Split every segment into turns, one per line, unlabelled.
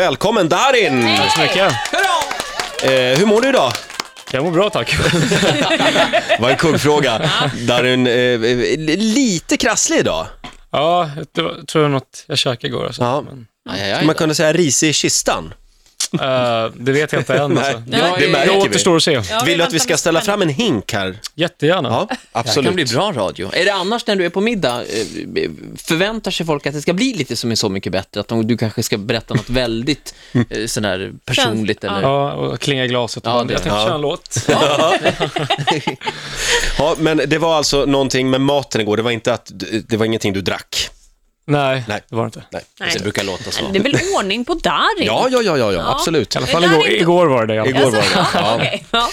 Välkommen Darin!
Tack så mycket.
Eh, hur mår du idag?
Jag mår bra tack.
Vad en kuggfråga. Darin, eh, eh, lite krasslig idag.
Ja, det var, tror jag något jag käkade igår. Alltså.
Ja.
Men,
Aj, aj, aj.
Man kunde säga risig i kistan.
eh, det vet jag inte än. Alltså.
Nej,
Ja,
det
det
Det
märker
återstår
vi.
att se.
Vill du att vi ska ställa fram en hink här?
Jättegärna.
Ja,
det här kan bli
absolut.
bra radio. Är det annars när du är på middag, eh, förväntar sig folk att det ska bli lite som är Så mycket bättre? Att de, du kanske ska berätta något väldigt eh, sån här personligt
Känns-
eller...
Ja, och klinga i glaset.
Ja,
Ja,
det-
jag tänkte
ja.
köra en låt.
Ja, men det var alltså någonting med maten igår. Det var, inte att, det var ingenting du drack.
Nej,
Nej.
det var det inte. I
Nej.
Nej.
Det brukar låta så.
Det är väl ordning på Darin?
Ja, ja, ja, ja, ja, absolut.
alla fall
Det här
igår,
är inte-
igår var det det. i alla fall.
Igår var det.
Ja,
Ja. Eh.
okej. ja.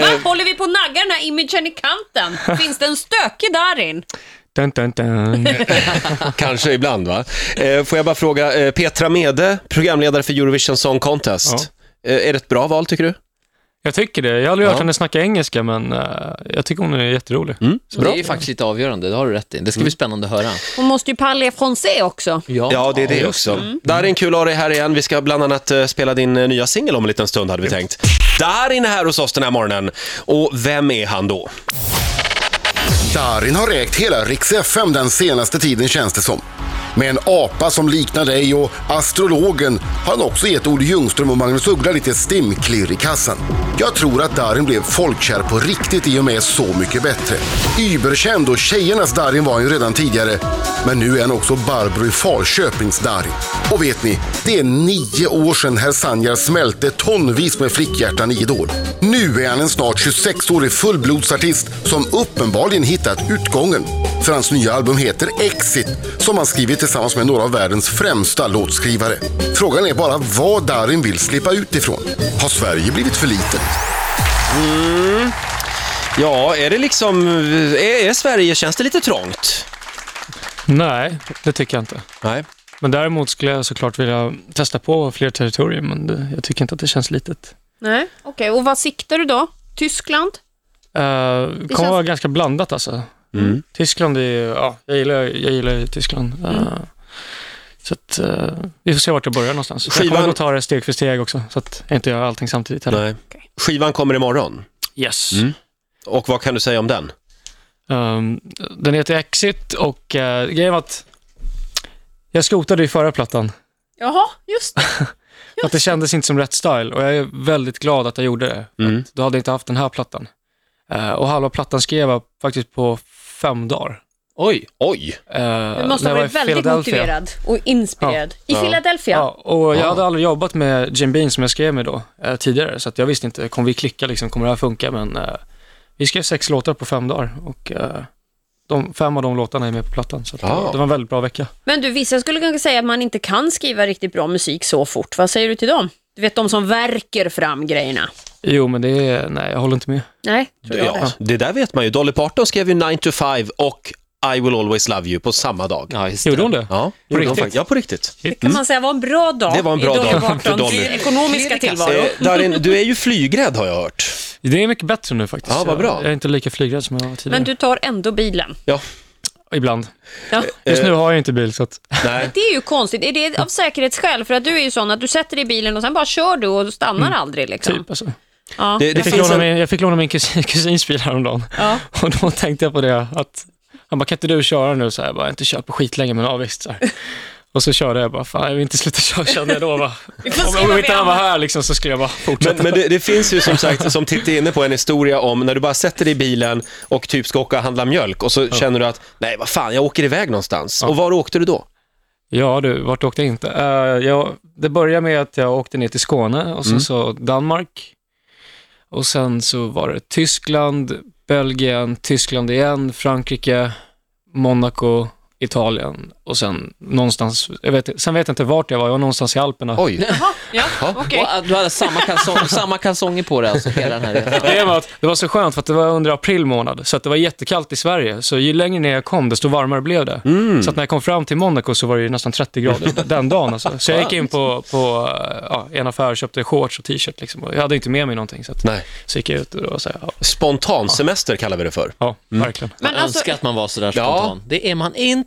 Va, håller vi på att nagga den här imagen i kanten? Finns det en stökig Darin?
Dun, dun, dun.
Kanske ibland, va? Eh, får jag bara fråga, eh, Petra Mede, programledare för Eurovision Song Contest. Eh, är det ett bra val, tycker du?
Jag tycker det. Jag har aldrig hört
Ja.
henne snacka engelska, men eh, jag tycker hon är jätterolig.
Det är ju faktiskt lite avgörande, det har du rätt i. Det ska bli spännande att höra.
Hon måste ju parler français också.
Ja, det är det också. Mm. Darin, kul att ha dig här igen. Vi ska bland annat eh, spela din eh, nya singel om en liten stund, hade vi tänkt. Darin är här hos oss den här morgonen. Och vem är han då?
Darin har räkt hela Rix FM den senaste tiden känns det som. Med en apa som liknar dig och astrologen har han också gett Olle Ljungström och Magnus Uggla lite stimklirr i kassan. Jag tror att Darin blev folkkär på riktigt i och med Så mycket bättre. Überkänd och tjejernas Darin var han ju redan tidigare, men nu är han också Barbro i Falköpings Darin. Och vet ni, det är nio år sedan herr Sanjar smälte tonvis med flickhjärtan i Idol. Nu är han en snart 26-årig fullblodsartist som uppenbarligen hittat utgången. För hans nya album heter Exit som han skrivit tillsammans med några av världens främsta låtskrivare. Frågan är bara vad Darin vill slippa ut ifrån. Har Sverige blivit för litet?
Ja, är det liksom... Är, är Sverige... Känns det lite trångt?
Nej, det tycker jag inte.
Nej.
Men däremot skulle jag såklart vilja testa på fler territorier, men det, jag tycker inte att det känns litet.
Nej. Okej, och vad siktar du då? Tyskland?
Eh, kommer
känns-
vara ganska blandat alltså.
Mm.
Tyskland är ju- ja, jag gillar, jag gillar ju Tyskland.
Mm.
Eh, Så att, eh, vi får se vart jag börjar någonstans. Jag
Skivan-
kommer nog ta det steg för steg också, så att jag inte gör allting samtidigt heller.
Nej. Skivan kommer imorgon.
Yes.
Mm. Och vad kan du säga om den?
Ehm, den heter Exit och eh, grejen var att jag skotade i förra plattan.
Jaha, just det.
För att det kändes inte som rätt style och jag är väldigt glad att jag gjorde det. För
Mm.
Att då hade jag inte haft den här plattan. Eh, och halva plattan skrev jag faktiskt på fem dagar.
Oj,
Oj!
Eh,
Du måste
när
ha
jag var i
varit väldigt
Philadelphia.
motiverad och inspirerad. I Philadelphia?
Ja, och jag hade aldrig jobbat med Jim Bean som jag skrev med då eh, tidigare, så att jag visste inte, kommer vi klicka liksom, kommer det här funka? Men eh, vi skrev sex låtar på fem dagar och eh, de, fem av de låtarna är med på plattan, så att,
Ja.
det var en väldigt bra vecka.
Men du, vissa skulle kanske säga att man inte kan skriva riktigt bra musik så fort. Vad säger du till dem? Du vet, de som verkar fram grejerna.
Jo, men det är, nej, jag håller inte med.
Nej, tror jag.
Ja, det där vet man ju. Dolly Parton skrev ju 9 to 5 och I will always love you på samma dag.
ja, just det.
Gjorde hon det?
Ja,
På
gjorde hon
riktigt?
fakt- ja på riktigt.
Det kan man säga var en bra dag
Det var en bra
i Dolly
dag för
Partons
Dolly.
ekonomiska tillvaro.
Eh, Darin, du är ju flygrädd har jag hört.
Det är mycket bättre nu faktiskt.
Ja, vad bra.
Jag, jag är inte lika flygrädd som jag var tidigare.
Men du tar ändå bilen.
Ja,
Ibland.
Ja.
Just nu har jag inte bil, så att,
nej.
Det är ju konstigt. Är det av säkerhetsskäl? För att du är ju sån att du sätter dig i bilen och sen bara kör du och stannar aldrig. Liksom.
typ alltså.
Ja.
Det, det
Jag fick,
finns
låna
en...
min, jag fick låna min kusin, kusins bil häromdagen.
Ja.
Och då tänkte jag på det att, han bara, kan inte du köra nu? Så här, jag bara, "Jag har inte kört på skit länge men ja visst. Så här. Och så körde jag bara, fan jag vill inte sluta köra kände jag då. Bara.
får se
Om, om
vad
inte
vi
han var
hamnar.
här liksom, så skulle jag bara fortsätta.
Men, men det, det finns ju som sagt, som Titti är inne på, en historia om när du bara sätter dig i bilen och typ ska åka och handla mjölk och så känner du att nej vad fan, jag åker iväg någonstans. Och var åkte du då?
Ja du, vart åkte jag inte? Eh, jag, det började med att jag åkte ner till Skåne och sen så Danmark. Och sen så var det Tyskland, Belgien, Tyskland igen, Frankrike, Monaco, Italien och sen någonstans, jag vet, sen vet jag inte vart jag var, jag var någonstans i Alperna.
Oj,
Jaha, ja, okej.
Och, att du hade samma, kalsong, samma kalsonger på dig alltså, hela den här resan.
Det var, att det var så skönt för att det var under april månad, så att det var jättekallt i Sverige. Så ju längre ner jag kom, desto varmare blev det. Så att när jag kom fram till Monaco så var det ju nästan 30 grader den dagen. Alltså. Så jag gick in på, på eh, ja, en affär och köpte shorts och t-shirt. Liksom. Och jag hade inte med mig någonting, så, att,
nej.
så gick jag ut och då sa jag, ja,
Spontan semester kallar vi det för.
ja verkligen.
Men
Man
alltså,
önskar att man var sådär spontan. Det är man inte.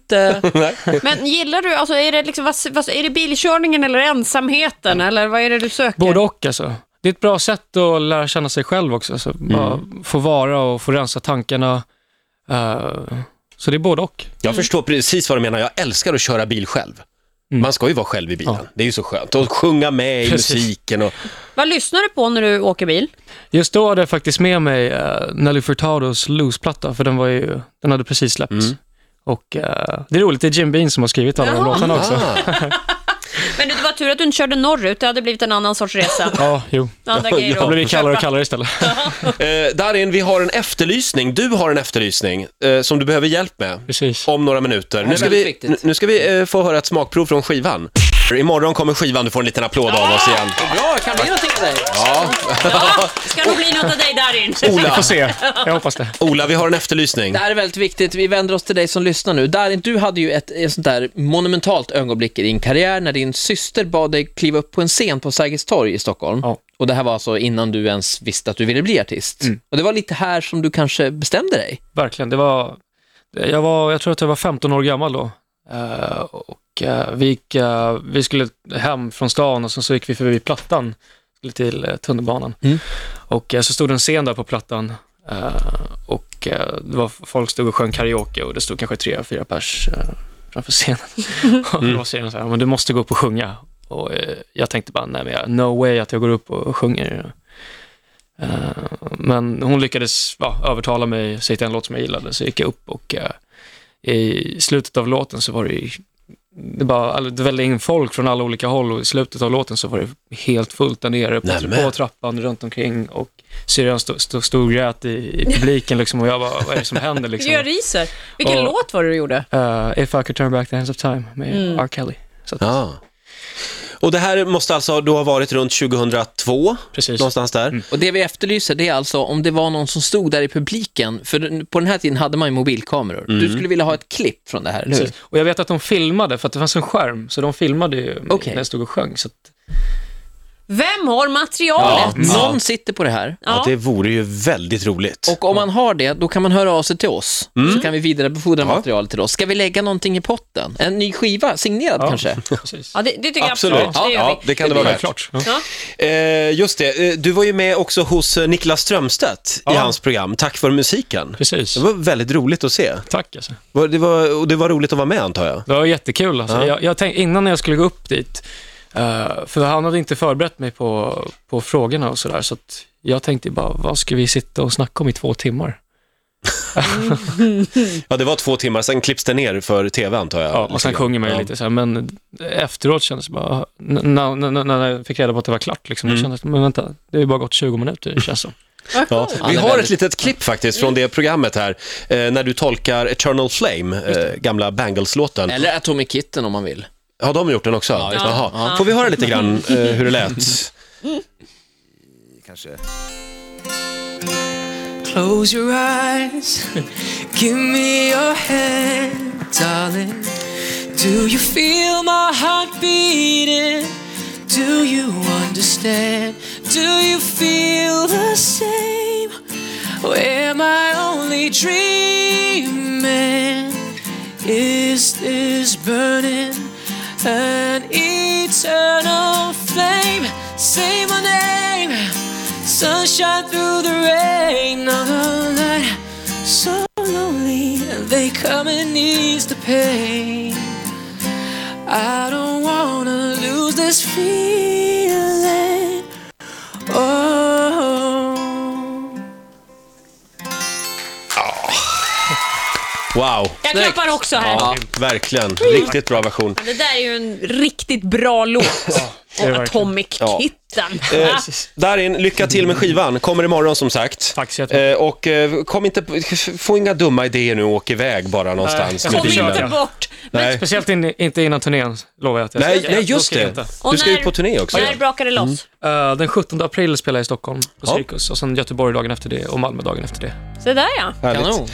Nej.
Men gillar du, alltså, är, det liksom, vad, vad, är det bilkörningen eller ensamheten eller vad är det du söker?
Både och alltså. Det är ett bra sätt att lära känna sig själv också. Alltså, bara få vara och få rensa tankarna. Eh, så det är både och.
Jag förstår precis vad du menar. Jag älskar att köra bil själv. Man ska ju vara själv i bilen. Det är ju så skönt. Och sjunga med i
Precis.
musiken och...
Vad lyssnar du på när du åker bil?
Just då hade jag faktiskt med mig eh, Nelly Furtados Loose-platta, för den, var ju, den hade precis släppts. Och eh, det är roligt, det är Jim Bean som har skrivit alla de
Jaha.
låtarna också.
Men du, det var tur att du inte körde norrut, det hade blivit en annan sorts resa.
Ja, jo.
Andra grejer
Då
att
blir det kallare och
köpa.
kallare istället.
Eh, Darin, vi har en efterlysning. Du har en efterlysning eh, som du behöver hjälp med
Precis.
om några minuter. Nu ska
väldigt
vi,
viktigt.
nu ska vi eh, få höra ett smakprov från skivan. Imorgon kommer skivan, du får en liten applåd av oss igen.
Bra, kan det bli någonting av dig?
Ja.
Ja, ska det bli något av dig Darin?
Vi får
Ola,
se. Jag hoppas det.
Ola, vi har en efterlysning.
Det här är väldigt viktigt. Vi vänder oss till dig som lyssnar nu. Darin, du hade ju ett, ett sånt där monumentalt ögonblick i din karriär när din syster bad dig kliva upp på en scen på Sergels torg i Stockholm.
Ja.
Och det här var alltså innan du ens visste att du ville bli artist.
Mm.
Och det var lite här som du kanske bestämde dig.
Verkligen. Det var, jag, var, jag tror att jag var 15 år gammal då. Eh, och, eh, vi, gick, eh, vi skulle hem från stan och sen så gick vi förbi Plattan, skulle till eh, tunnelbanan.
Mm.
Och eh, så stod det en scen där på Plattan eh, och eh, det var, folk stod och sjöng karaoke och det stod kanske tre, fyra pers eh, framför scenen. och då säger de så här, men du måste gå upp och sjunga. Och eh, jag tänkte bara, nej men jag, no way att jag går upp och sjunger. Eh, men hon lyckades ja, övertala mig, säga till en låt som jag gillade, så gick jag upp och eh, i slutet av låten så var det ju, det, bara, all- det vällde in folk från alla olika håll och i slutet av låten så var det helt fullt där nere, på,
Nämen.
på trappan, runt omkring och syrran stod stå, stå och grät i, i publiken liksom, och jag bara, vad är det som händer liksom?
Jag ryser. Vilken
Och-
låt var det du gjorde?
Eh, if I could turn back the hands of time med R. Kelly. Så att,
Ja. Och det här måste alltså då ha varit runt 2002,
Precis. Mm.
någonstans där.
Och det vi efterlyser det är alltså om det var någon som stod där i publiken, för på den här tiden hade man ju mobilkameror. Du skulle vilja ha ett klipp från det här, eller hur?
Mm. Precis. Och jag vet att de filmade, för att det fanns en skärm, så de filmade ju
Okej.
när jag stod och sjöng. Så att,
Vem har materialet?
Någon sitter på det här.
Ja, det vore ju väldigt roligt.
Och om man har det, då kan man höra av sig till oss, så kan vi vidarebefordra materialet till oss. Ska vi lägga någonting i potten? En ny skiva, signerad kanske?
precis.
Ja, det, det tycker
Absolut.
jag absolut.
Ja,
det gör
ja,
vi.
det kan det vara värt.
Självklart. Ja.
Ja.
Eh, just det, eh, du var ju med också hos eh, Niklas Strömstedt i
Ja.
hans program Tack för musiken.
Precis.
Det var väldigt roligt att se.
Tack alltså.
Var- Det var, och det var roligt att vara med antar jag.
Det var jättekul. Alltså. Jag, jag tänkte, innan när jag skulle gå upp dit, eh, för han hade inte förberett mig på, på frågorna och sådär, så att jag tänkte bara, vad ska vi sitta och snacka om i två timmar?
Ja, det var två timmar, sen klipps det ner för tv antar jag.
Ja, och sen sjunger man ju
Ja.
lite så här, men efteråt kändes det bara, när, när, när jag fick reda på att det var klart, liksom, mm. kändes, men vänta, det har ju bara gått 20 minuter, känns som.
Ja.
Han
Vi
är
har
väldigt-
ett litet klipp faktiskt från det programmet här, eh, när du tolkar Eternal Flame, eh, gamla Bangles-låten.
Eller Atomic Kitten om man vill.
Har de gjort den också?
det.
Jaha. Får vi höra lite grann eh, hur det lät?
Kanske.
Close your eyes, give me your hand, darling. Do you feel my heart beating? Do you understand? Do you feel the same? Or am I only dreaming? Is this burning an eternal flame? Say my name, sunshine through the rain. All night, so lonely, they come and ease the pain. I don't wanna lose this feeling. Oh.
Wow,
Jag klappar också här.
Ja.
verkligen. Riktigt bra version.
Det där är ju en riktigt bra låt.
är
Och
verkligen.
Atomic
Ja.
Kitten.
Eh,
Ja.
Darin, lycka till med skivan. Kommer imorgon som sagt.
Tack så jättemycket.
Eh, och eh, kom inte, på- få inga dumma idéer nu och åk iväg bara någonstans
jag
med
kommer
Kom
bilen.
inte
försöka.
bort.
Eh, Nej.
Speciellt in, inte innan turnén, lovar jag. Att jag
Nej,
ska-
nej,
då
just
ska jag
det.
inte.
Och
Du ska ju
när-
på turné också.
När brakar det loss?
Eh, den 17 april spelar jag i Stockholm på
Ja.
Cirkus och sen Göteborg dagen efter det och Malmö dagen efter det.
Se där ja.
Härligt.
Kanon.